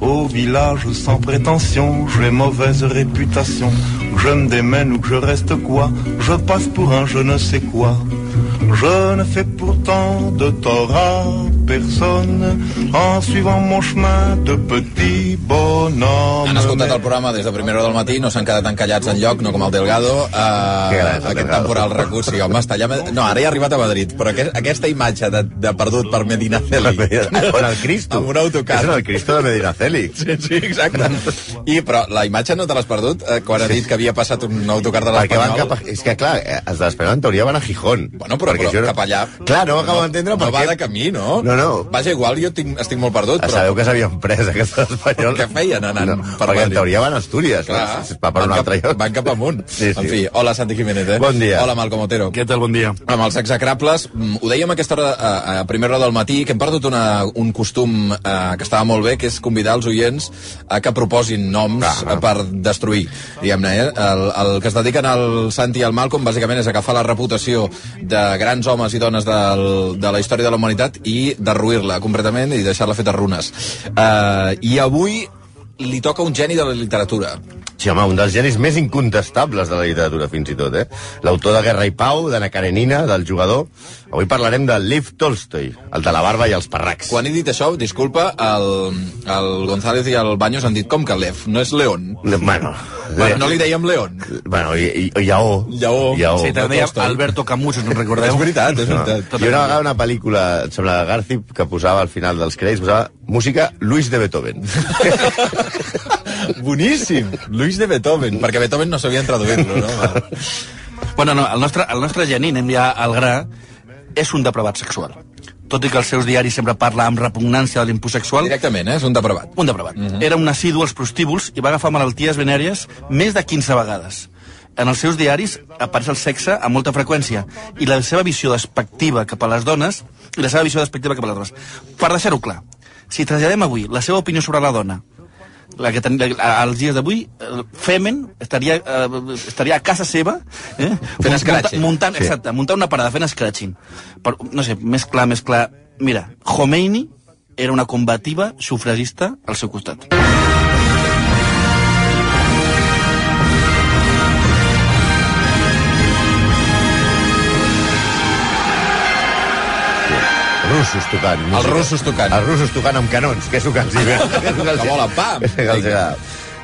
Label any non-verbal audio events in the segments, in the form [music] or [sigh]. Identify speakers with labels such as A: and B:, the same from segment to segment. A: beau village sans prétention, j'ai mauvaise réputation. Que je me démène ou que je reste quoi, je passe pour un je ne sais quoi. Je ne fais pourtant de tort à personne en suivant mon chemin de petit bonhomme.
B: Han escoltat el programa des de primera hora del matí, no s'han quedat encallats en lloc, no com el Delgado.
C: Que
B: Uh,
C: gran, el
B: aquest
C: Delgado.
B: temporal recurs, sí, home, està allà... No, ara ja ha arribat a Madrid, però aquest, aquesta imatge de, de perdut per
C: [laughs]
B: Medinaceli...
C: Con el Cristo.
B: Amb un autocar.
C: És el Cristo de Medinaceli.
B: Sí, sí, exacte. I, però la imatge no te l'has perdut eh, quan ha dit que havia passat un autocar de
C: Perquè van
B: l'Espanyol?
C: cap a... És que, clar, eh, els de l'Espanyol en teoria van a Gijón.
B: Bueno, però,
C: Perquè
B: però
C: jo no-
B: cap allà...
C: Clar, no acabo d'entendre
B: no
C: per
B: va
C: què-
B: de camí, no?
C: No, no.
B: Vaja, igual, jo tinc, estic molt perdut,
C: Però...
B: però...
C: Sabeu que s'havien pres aquesta d'Espanyol?
B: Què feien anant
C: no,
B: per
C: Perquè en
B: Madrid?
C: teoria van a Astúries.
B: Clar,
C: Es va per
B: van
C: un
B: cap,
C: altre lloc.
B: Van cap amunt.
C: Sí, sí.
B: En fi, hola, Santi Jiménez, eh?
C: Bon dia.
B: Hola, Malcom Otero.
D: Què tal? Bon dia.
B: Amb els execrables, mm, ho dèiem a aquesta hora, a, a primera hora del matí, que hem perdut una, un costum eh, que estava molt bé, que és convidar els oients a que proposin noms
C: Clar, clar.
B: eh, per destruir, diguem-ne. Eh? El, el que es dediquen al Santi i al Malcolm, bàsicament, és agafar la reputació de grans homes i dones del, de la història de la humanitat i derruir-la completament i deixar-la feta runes. Eh, I avui li toca un geni de la literatura.
C: Sí, home, un dels genis més incontestables de la literatura, fins i tot, eh? L'autor de Guerra i Pau, d'Anna Karenina, del jugador. Avui parlarem de Lev Tolstoi, el de la barba i els parracs.
B: Quan he dit això, disculpa, el, el González i el Baños han dit com que Lev, no és León.
C: Bueno,
B: Bueno, no li dèiem León.
C: Bueno, i, i, Lleó.
B: Lleó.
C: Lleó.
D: Sí,
B: de
D: també hi ha
B: Tolstoi.
D: Alberto Camus, us en
B: És
D: recordeu?
B: veritat, és veritat.
C: Jo una vegada Ah. una pel·lícula, em sembla, de Garcip, que posava al final dels crèdits, posava música Luis de Beethoven.
B: [laughs] Boníssim, Luis de Beethoven, perquè Beethoven no sabien traduir-lo, no?
D: Bueno, no, el nostre, el nostre geni, anem ja al gra, és un depravat sexual. Tot i que els seus diaris sempre parla amb repugnància de l'impuls sexual,
B: Directament, eh? és un depravat.
D: un depravat. Era un assidu als prostíbuls i va agafar malalties venèries més de 15 vegades. En els seus diaris apareix el sexe amb molta freqüència i la seva visió despectiva cap a les dones i la seva visió despectiva cap a les dones. Per deixar-ho clar, si traslladem avui la seva opinió sobre la dona la que ten, la, als dies d'avui eh, Femen estaria, eh, estaria a casa seva eh,
B: Fent
D: munta-
B: escratxing.
D: muntant, sí. exacte, muntant una parada fent escratxing per, no sé, més clar, més clar mira, Khomeini era una combativa sufragista al seu costat
C: russos tocant música.
B: Els russos tocant.
C: Els russos tocant amb canons, que és el que els agrada. Que és el els-
B: Que volen pam.
C: [laughs] que és el que els agrada.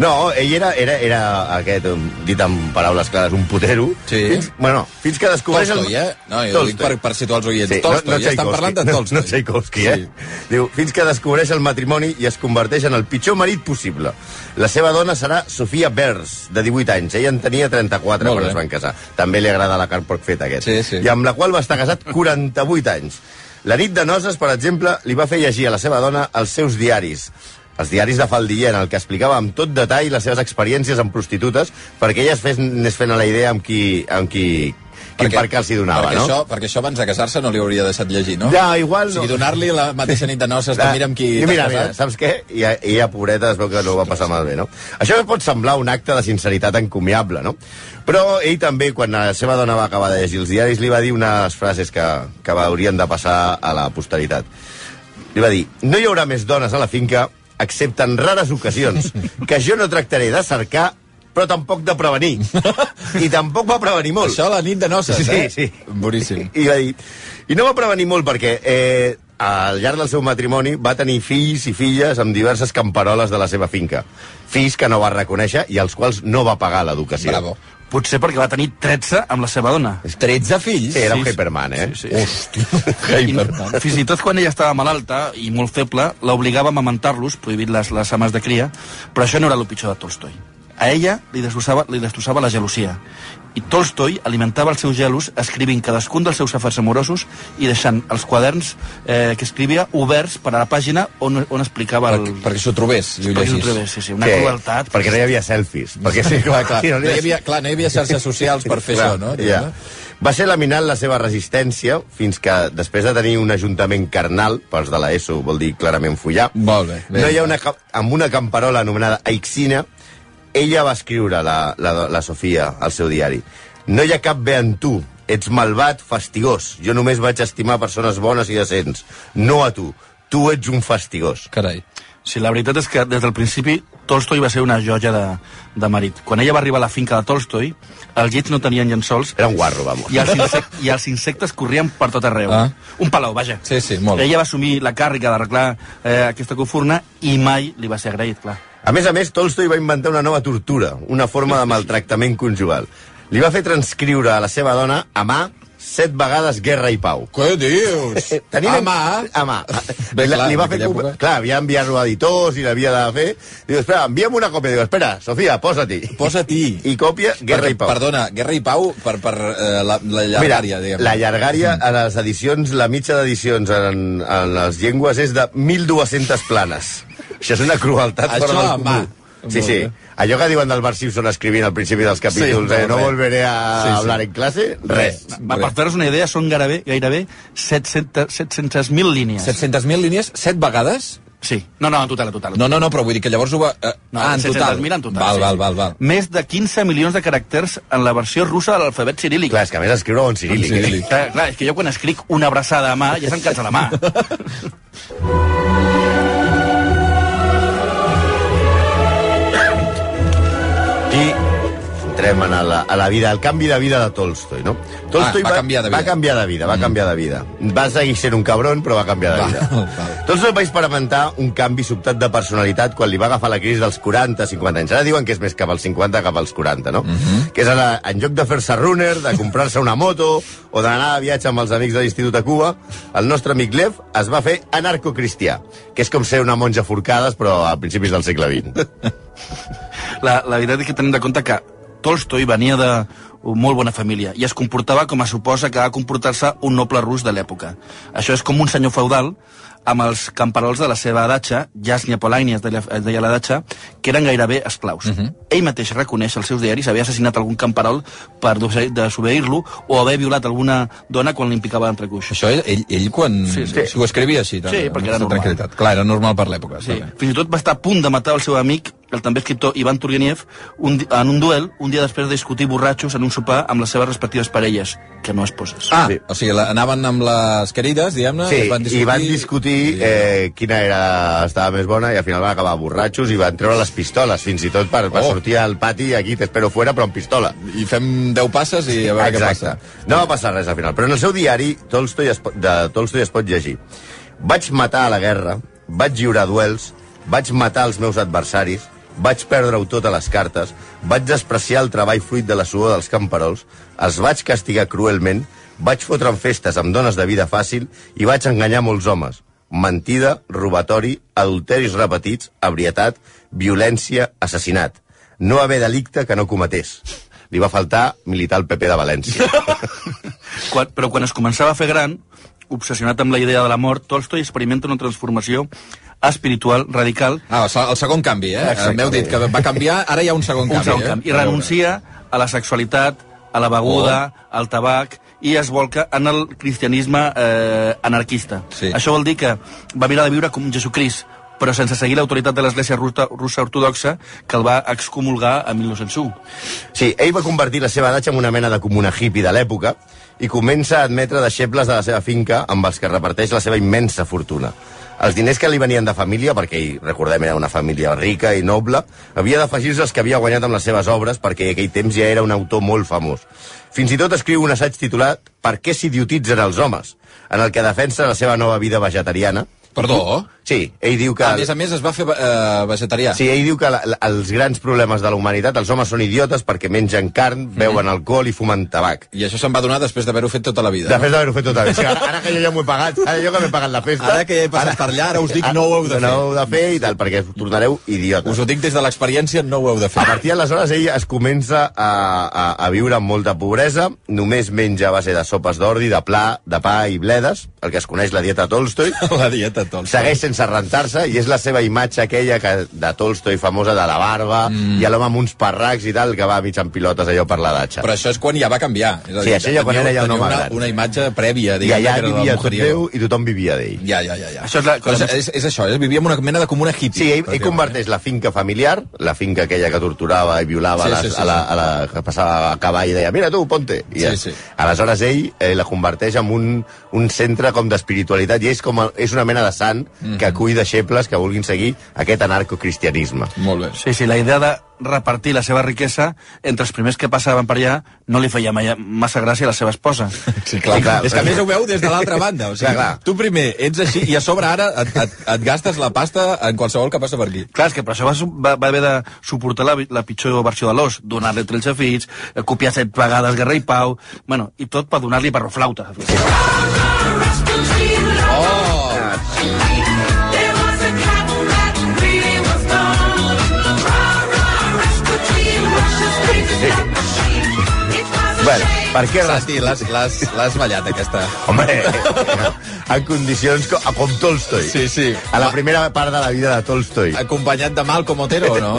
C: No, ell era, era, era aquest, um, dit amb paraules clares, un putero.
B: Sí.
C: Fins, bueno, fins que descobreix...
B: Tolstoi, eh? No, jo ho dic per, per situar els oients.
C: Sí,
B: Sí, Tolstoi, no, no ja estan
C: Tchaikovsky,
B: parlant de
C: [laughs] no-
B: Tolstoi.
C: No, Tchaikovsky, eh? Sí. Diu, fins que descobreix el matrimoni i es converteix en el pitjor marit possible. La seva dona serà Sofia Bers, de 18 anys. Ella en tenia 34
B: Molt
C: quan
B: bé.
C: es van casar. També li agrada la carn porc feta, aquest.
B: Sí, sí.
C: I amb la qual va estar casat 48 anys. La nit de noces, per exemple, li va fer llegir a la seva dona els seus diaris els diaris de Faldiller, en el que explicava amb tot detall les seves experiències amb prostitutes perquè ella es fes, anés fent a la idea amb qui, amb qui, quin perquè, els hi donava,
B: perquè
C: no?
B: Això, perquè això abans de casar-se no li hauria deixat llegir, no?
C: Ja, igual
B: O sigui,
C: no.
B: donar-li la mateixa nit de noces, de mira amb qui...
C: I mira,
B: t'has
C: mira,
B: casat.
C: saps què? I, a- i ella, pobreta, es veu que no ho va passar malbé, no? Això pot semblar un acte de sinceritat encomiable, no? Però ell també, quan la seva dona va acabar de llegir els diaris, li va dir unes frases que, que haurien de passar a la posteritat. Li va dir, no hi haurà més dones a la finca, excepte en rares ocasions, que jo no tractaré de cercar, però tampoc de
B: [laughs]
C: prevenir. I tampoc va prevenir molt.
B: Això a la nit de noces,
C: Sí,
B: eh?
C: sí.
B: Boníssim.
C: I va dir... I no va prevenir molt perquè eh, al llarg del seu matrimoni va tenir fills i filles amb diverses camperoles de la seva finca. Fills que no va reconèixer i als quals no va pagar l'educació.
B: Bravo.
D: potser perquè va tenir 13 amb la seva dona
B: 13 fills?
C: Sí, era un
D: Sí, sí.
C: Hyperman, eh?
D: Sí, sí. [laughs]
B: Hòstia,
D: I,
B: Hyperman.
D: fins i tot quan ella estava malalta i molt feble, l'obligava a amamentar-los, prohibit les, les ames de cria, però això no era el pitjor de Tolstoi. A ella li destrossava, li destrossava la gelosia. I Tolstoi alimentava els seus gelos escrivint cadascun dels seus afers amorosos i deixant els quaderns eh, que escrivia oberts per a la pàgina on, on explicava el...
B: Perquè, perquè s'ho trobés, i ho
D: Perquè s'ho
B: llegís.
D: trobés, sí, sí, una
C: Que-
D: crueltat.
C: Perquè no hi havia selfies. Perquè sí,
B: Clar, clar.
C: Sí,
B: Ah, no,
C: no,
B: hi havia, clar, no hi havia xarxes socials per fer això, no?
C: Ja. Va ser laminant la seva resistència fins que, després de tenir un ajuntament carnal, pels de l'ESO vol dir clarament follar,
B: Molt bé, bé.
C: no hi ha una, ca- amb una camperola anomenada Aixina, ella va escriure, la, la, la Sofia, al seu diari. No hi ha cap bé en tu, ets malvat, fastigós. Jo només vaig estimar persones bones i decents, no a tu. Tu ets un fastigós.
B: Carai.
D: Sí, la veritat és que des del principi Tolstoi va ser una joia de, de marit. Quan ella va arribar a la finca de Tolstoi, els llits no tenien llençols
C: Era un guarro, vamos.
D: i els, insec i els insectes corrien per tot arreu.
B: Ah.
D: Un palau, vaja.
B: Sí, sí, molt.
D: Ella va assumir la càrrega d'arreglar eh, aquesta cofurna i mai li va ser agraït, clar.
C: A més a més, Tolstoi va inventar una nova tortura, una forma de maltractament conjugal. Li va fer transcriure a la seva dona, a mà, set vegades Guerra i Pau.
B: Què dius?
C: Eh, Tenint en- A mà.
B: Bé,
C: La-
B: clar,
C: li
B: en
C: va fer...
B: aquella
C: com-
B: època.
C: Clar, havia enviat-ho a editors i l'havia de fer. Diu, espera, envia'm una còpia. Diu, espera, Sofia, posa-t'hi.
B: Posa-t'hi.
C: I còpia Guerra
B: Perquè,
C: i Pau.
B: Perdona, Guerra i Pau per, per eh, la, la llargària, diguem.
C: la llargària a les edicions, la mitja d'edicions en, en les llengües és de 1.200 planes. Això és una crueltat
B: Això,
C: fora del comú.
B: va.
C: Sí, sí. Allò que diuen del Bart Simpson escrivint al principi dels capítols,
B: Sí,
C: eh, no
B: res.
C: volveré a
B: Sí, sí.
C: hablar en classe, res.
D: Va, per fer-vos una idea, són gairebé, gairebé 700 700.000 línies.
B: 700.000 línies, 7 vegades?
D: Sí. No, no, en total, en total.
B: No, no, no, però vull dir que llavors ho va... Eh,
D: No,
B: ah, en total.
D: 700.000 en total.
B: Val,
D: sí,
B: val,
D: sí.
B: val, val.
D: Més de 15 milions de caràcters en la versió russa de l'alfabet cirílic.
C: Clar, és que a més escriure en cirílic.
B: En cirílic.
C: cirílic.
D: Clar, clar, és que jo quan escric una abraçada a mà ja se'm cansa la mà.
B: [laughs]
C: I entrem en la, a la vida, al canvi de vida de Tolstoi, no? Tolstoi
B: Ah, va canviar de vida. Mm.
C: Va canviar de vida, va canviar de vida. Va seguir sent un cabron, però va canviar de
B: Val,
C: vida.
B: [laughs] val.
C: Tolstoi va experimentar un canvi sobtat de personalitat quan li va agafar la crisi dels 40-50 anys. Ara diuen que és més cap als 50 cap als 40, no?
B: Mhm.
C: Que és ara, en lloc de fer-se runner, de comprar-se una moto o d'anar a viatge amb els amics de l'institut a Cuba, el nostre amic Lev es va fer anarcocristià, que és com ser una monja forcades, però a principis del segle XX.
D: La, la veritat és que tenim de compte que Tolstoi venia de molt bona família i es comportava com a suposa que va comportar-se un noble rus de l'època. Això és com un senyor feudal amb els camperols de la seva datxa, Jasnia Polainia es deia es deia la datxa, que eren gairebé esclaus. Ell mateix reconeix als seus diaris haver assassinat algun camperol per dose- desobeir-lo o haver violat alguna dona quan li implicava l'entrecuix.
B: Això ell, ell, ell quan...
D: Sí, sí.
B: Si ho escrivia així. tant,
D: Sí, perquè era
B: amb
D: normal.
B: Tranquil·litat. Clar, era normal per l'època.
D: Sí.
B: està bé.
D: Fins i tot va estar a punt de matar el seu amic, el també escriptor Ivan Turgeniev, un, di- en un duel, un dia després de discutir borratxos en un sopar amb les seves respectives parelles, que no esposes.
B: Ah,
C: Sí.
B: o sigui, la, anaven amb les querides, diguem-ne,
C: Sí,
B: i es van discutir...
C: i van discutir eh, quina era, estava més bona i al final van acabar borratxos i van treure les pistoles fins i tot per, per
B: Oh.
C: sortir al pati aquí t'espero fuera però amb pistola
B: I fem 10 passes i a veure què passa.
C: no va passar res al final però en el seu diari Tolstoi es, po- de Tolstoi es pot llegir vaig matar a la guerra vaig lliurar duels vaig matar els meus adversaris vaig perdre-ho tot a les cartes vaig despreciar el treball fruit de la suor dels camperols els vaig castigar cruelment vaig fotre en festes amb dones de vida fàcil i vaig enganyar molts homes. Mentida, robatori, adulteris repetits, abrietat, violència, assassinat. No haver delicte que no cometés. Li va faltar militar el PP de València.
D: Quan, però quan es començava a fer gran, obsessionat amb la idea de la mort, Tolstoi experimenta una transformació espiritual radical
B: Ah, el se- el segon canvi, eh?
C: Exacte.
B: M'heu dit que va canviar, ara hi ha un segon
D: un
B: canvi.
D: segon
B: eh?
D: camp, i
B: A veure.
D: renuncia a la sexualitat, a la beguda, al tabac i es volca en el cristianisme eh, anarquista.
B: Sí.
D: Això vol dir que va mirar de viure com Jesucrist, però sense seguir l'autoritat de l'Església russa, russa ortodoxa que el va excomulgar a 1901.
C: Sí, ell va convertir la seva datxa en una mena de comuna hippie de l'època i comença a admetre deixebles de la seva finca amb els que reparteix la seva immensa fortuna. Els diners que li venien de família, perquè ell, recordem, era una família rica i noble, havia d'afegir-se als que havia guanyat amb les seves obres perquè aquell temps ja era un autor molt famós. Fins i tot escriu un assaig titulat Per què s'idiotitzen els homes?, en el que defensa la seva nova vida vegetariana.
B: Perdó?
C: Sí, ell diu que...
B: A més a més, es va fer eh, vegetarià.
C: Sí, ell diu que la, la, els grans problemes de la humanitat, els homes són idiotes perquè mengen carn,
B: Mhm.
C: beuen alcohol i fumen tabac.
B: I això se'n va donar després d'haver-ho fet tota la vida.
C: De fet, d'haver-ho fet tot bé. Sí, ara, ara que jo ja m'ho he pagat, ara jo que m'he pagat la festa...
B: Ara que ja he passat per allà, ara us dic, no ho heu de
C: Ah, No
B: fer.
C: ho heu de fer i tal, perquè us tornareu idiotes.
B: Us ho dic des de l'experiència, no ho heu de fer.
C: A partir d'aleshores ell es comença a, a, a viure amb molta pobresa, només menja a base de sopes d'ordi, de pla, de pa i bledes, el que es coneix la dieta Tolstoi,
B: [laughs] La dieta, tot.
C: segueix sense rentar-se i és la seva imatge aquella que, de Tolstoi famosa de la barba mm. i l'home amb uns parracs i tal que va mig amb pilotes allò per la datxa.
B: Però això és quan ja va canviar. És a
C: Sí, això ja quan
B: teniu-
C: era ja un
B: teniu
C: home
B: una,
C: gran.
B: una imatge prèvia,
C: I
B: diguem,
C: allà
B: que era Mm.
C: vivia
B: del
C: tot
B: mujeriego.
C: Déu i tothom vivia d'ell.
B: Ja, ja, ja. ja.
D: Això és la-
B: Però és, és, és això, eh? vivia en una mena de comuna hippie.
C: Sí, ell, ell converteix la finca familiar, la finca aquella que torturava i violava
B: Sí,
C: sí, les,
B: sí,
C: sí,
B: sí,
C: a, la, a la, que passava a cavall i deia, mira tu, ponte. I
B: Sí,
C: ja.
B: sí.
C: Aleshores ell eh, la converteix en un, un centre com d'espiritualitat i és, com, a- és una mena de sant mm -hmm. que acull deixebles que vulguin seguir aquest anarcocristianisme.
B: Molt bé.
D: Sí, sí, la idea de repartir la seva riquesa entre els primers que passaven per allà no li feia mai massa gràcia a la seva esposa.
B: Sí, clar,
C: Sí, clar.
B: És que a més ho veu des de l'altra banda. O sigui,
C: Clar, clar.
B: Tu primer ets així i a sobre ara et, et, et gastes la pasta en qualsevol que passa per aquí.
D: Clar, és que per això va, su- va, va haver de suportar la, vi- la pitjor versió de l'os, donar-li 13 fills, eh, copiar set vegades Guerra i Pau, bueno, i tot per donar-li barroflauta.
B: Oh!
C: Bueno, per què
B: Santi, l'has- l'has l'has ballat, aquesta.
C: Home, eh, en condicions com, com Tolstoi.
B: Sí, sí.
C: A la primera part de la vida de Tolstoi.
B: Acompanyat de Malcom Otero, no?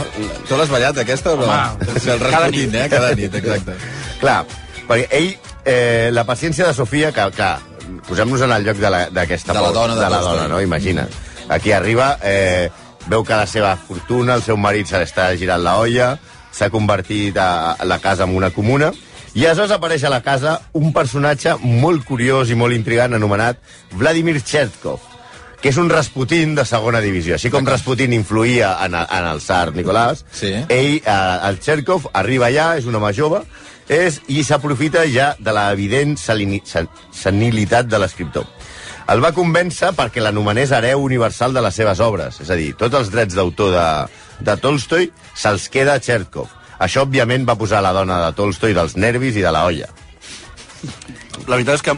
B: Tu l'has ballat, aquesta, o no?
D: Home,
B: Sí, el
D: cada
B: Rasputin,
D: nit.
B: eh? Cada nit, exacte.
C: Clar, perquè ell, eh, la paciència de Sofia, que, clar, posem-nos en el lloc de la- d'aquesta
B: De la
C: pobra-
B: dona de
C: de la
B: Tolstoi.
C: dona, no? Imagina't. Aquí arriba, eh, veu que la seva fortuna, el seu marit se l'està girant la olla, s'ha convertit a, a la casa en una comuna, i aleshores apareix a la casa un personatge molt curiós i molt intrigant anomenat Vladimir Chertkov, que és un Rasputin de segona divisió. Així com Rasputin influïa en, el- en el tsar Nicolàs,
B: Sí.
C: ell, eh, el Txerkov, arriba allà, és un home jove, és, i s'aprofita ja de la evident salini- sen- senilitat de l'escriptor. El va convèncer perquè l'anomenés hereu universal de les seves obres, és a dir, tots els drets d'autor de, de Tolstoi se'ls queda a Txerkov. Això, òbviament, va posar la dona de Tolstoi dels nervis i de la olla.
D: La veritat és que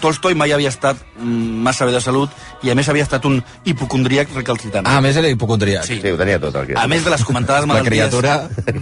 D: Tolstoi mai havia estat mm, massa bé de salut i a més havia estat un hipocondríac recalcitant.
B: Ah, a més era hipocondriac.
D: Sí.
C: Sí, ho tenia tot. El que...
D: A més de les comentades
B: La
D: malalties
B: criatura.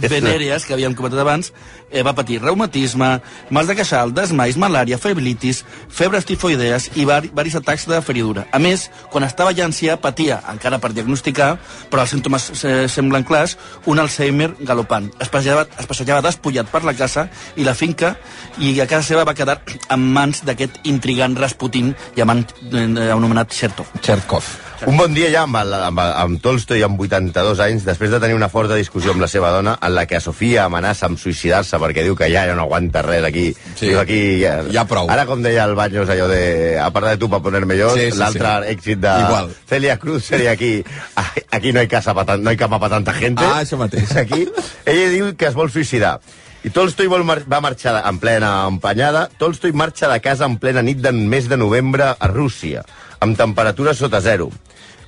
D: venèries que havíem comentat abans, eh, va patir reumatisme, mals de queixal, desmais, malària, febrilitis, febres tifoidees i vari- varis atacs de feridura. A més, quan estava ja ancià, patia, encara per diagnosticar, però els símptomes eh, semblen clars, un Alzheimer galopant. Es passejava, es passejava despullat per la casa i la finca i a casa seva va quedar en mans d'aquest intrigant Rasputin llamant, eh, anomenat Xerto.
B: Txertkov.
C: Un bon dia ja amb, el, amb, el- amb Tolstoi amb 82 anys, després de tenir una forta discussió amb la seva dona, en la que a Sofia amenaça amb suïcidar-se perquè diu que ja, ja no aguanta res aquí.
B: Sí.
C: Diu, aquí ja,
B: Ja prou.
C: Ara, com deia el Baños, allò de a part de tu per ponerme yo,
B: Sí, sí,
C: l'altre
B: sí.
C: èxit de
B: Igual.
C: Celia Cruz seria aquí. [laughs] "Ay, Aquí no hay, casa pa tan, no hay cama para tanta gente.
B: Ah, això mateix.
C: Aquí. Ella diu que es vol suïcidar. I Tolstoi vol mar va marxar de- en plena empanyada. Tolstoi marxa de casa en plena nit del mes de novembre a Rússia, amb temperatures sota zero.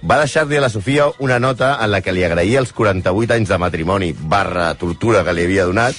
C: Va deixar-li a la Sofia una nota en la que li agraïa els 48 anys de matrimoni barra tortura que li havia donat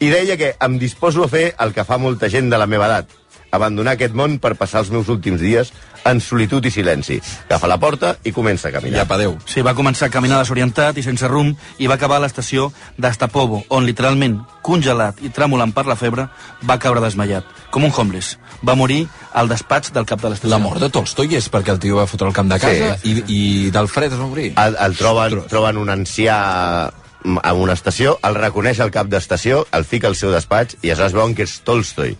C: i deia que em disposo a fer el que fa molta gent de la meva edat, abandonar aquest món per passar els meus últims dies en solitud i silenci. Agafa la porta i comença a
B: Ja,
C: caminar.
B: pa Déu.
D: Sí, va començar a caminar desorientat i sense rumb i va acabar a l'estació d'Estapovo, on literalment, congelat i tremolant per la febre, va caure desmaiat, com un homeless. Va morir al despatx del cap de l'estació.
B: La mort de Tolstoi és perquè el tio va fotre el camp de casa sí. i, i del fred es va morir.
C: El, el troben, troben un ancià mm, en una estació, el reconeix el cap d'estació, el fica al seu despatx i aleshores veuen que és Tolstoi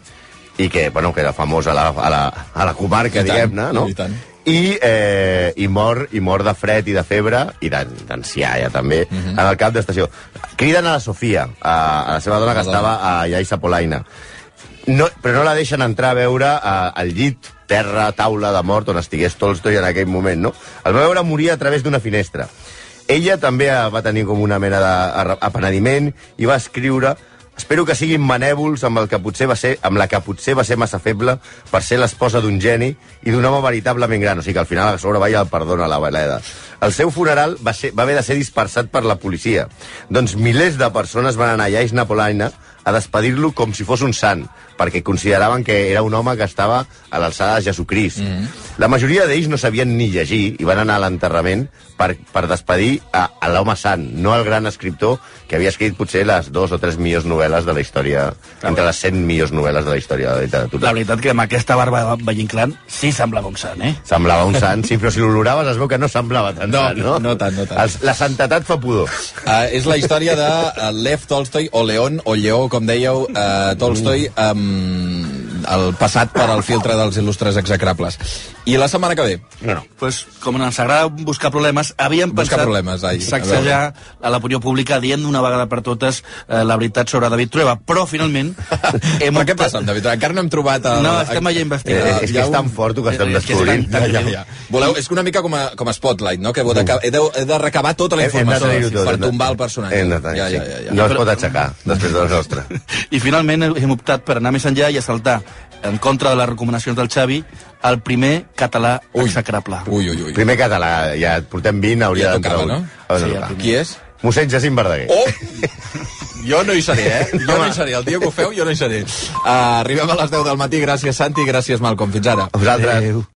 C: i que, bueno, que era famós a la, a la, a la comarca,
B: I tant,
C: diguem-ne, no?
B: i tant.
C: I, eh, i, mor, i mor de fred i de febre i d'an- d'ancià ja també uh
B: Mhm.
C: -huh. en el cap d'estació criden a la Sofia a, a la seva dona que
B: La dona.
C: estava a Iaisa Polaina no, però no la deixen entrar a veure eh, al llit, terra, taula de mort, on estigués Tolstoi en aquell moment, no? El va veure morir a través d'una finestra. Ella també eh, va tenir com una mena d'apenediment i va escriure Espero que siguin manèvols amb, el que potser va ser, amb la que potser va ser massa feble per ser l'esposa d'un geni i d'un home veritablement gran. O sigui que al final a sobre va i el perdona la Valeda. El seu funeral va, ser, va haver de ser dispersat per la policia. Doncs milers de persones van anar allà a Isna Polaina a despedir-lo com si fos un sant, perquè consideraven que era un home que estava a l'alçada de Jesucrist. Mm -hmm. La majoria d'ells no sabien ni llegir i van anar a l'enterrament per, per despedir a, a l'home sant, no al gran escriptor que havia escrit potser les dues o tres millors novel·les de la història, entre les 100 millors novel·les de la història de la literatura.
D: La veritat que amb aquesta barba veïnclant sí sembla com sant, eh?
C: Semblava un sant, sí, però si l'oloraves es veu que no semblava tan
B: No,
C: sant, no?
B: no tant, no tant.
C: Els- La santetat fa pudor.
B: Uh, és la història de eh, Lev Tolstoi, o León, o Lleó, com dèieu, eh, uh, Tolstoi, um, el passat per al filtre dels il·lustres execrables. I la setmana que ve?
C: No, no.
D: Pues, com ens agrada buscar problemes, havíem
B: Buscar
D: pensat
B: problemes, ai, a
D: sacsejar a l'opinió pública dient d'una vegada per totes eh, la veritat sobre David Trueba,
B: [laughs]
D: però finalment...
B: Hem Però què passa amb David? Encara no hem trobat... El...
D: No, estem allà investigant.
B: Eh,
C: Eh, és que és tan fort que estem
D: Eh, és que és
C: descobrint.
D: tan- tan
B: Ja,
D: greu.
B: ja. Voleu, és que una mica com a, com a Spotlight, no? Que heu de, he de, he de recabar tota la
C: Hem- hem de
B: informació
C: tenir-ho tot,
B: per
C: hem de-
B: tombar el personatge.
C: Hem de tenir,
B: ja, ja,
C: sí.
B: ja,
C: No
B: ja.
C: es pot aixecar després de la nostra.
B: [laughs]
D: [laughs] I finalment hem optat per anar més enllà i assaltar, en contra de les recomanacions del Xavi, el primer català
B: Ui.
D: execrable.
B: Ui, ui, ui.
C: Primer català, ja et portem 20, hauria
B: Ja
C: d'entrar
B: tocava,
C: un.
B: no?
C: Hauria
D: Sí,
C: de
D: ja
C: tocar.
B: Qui és?
C: Mossèn Jacint Verdaguer.
B: Oh! Jo no hi seré, eh? Jo no hi seré. El dia que ho feu, jo no hi seré. Uh, arribem a les 10 del matí. Gràcies, Santi. Gràcies, Malcom. Fins ara.
C: A vosaltres.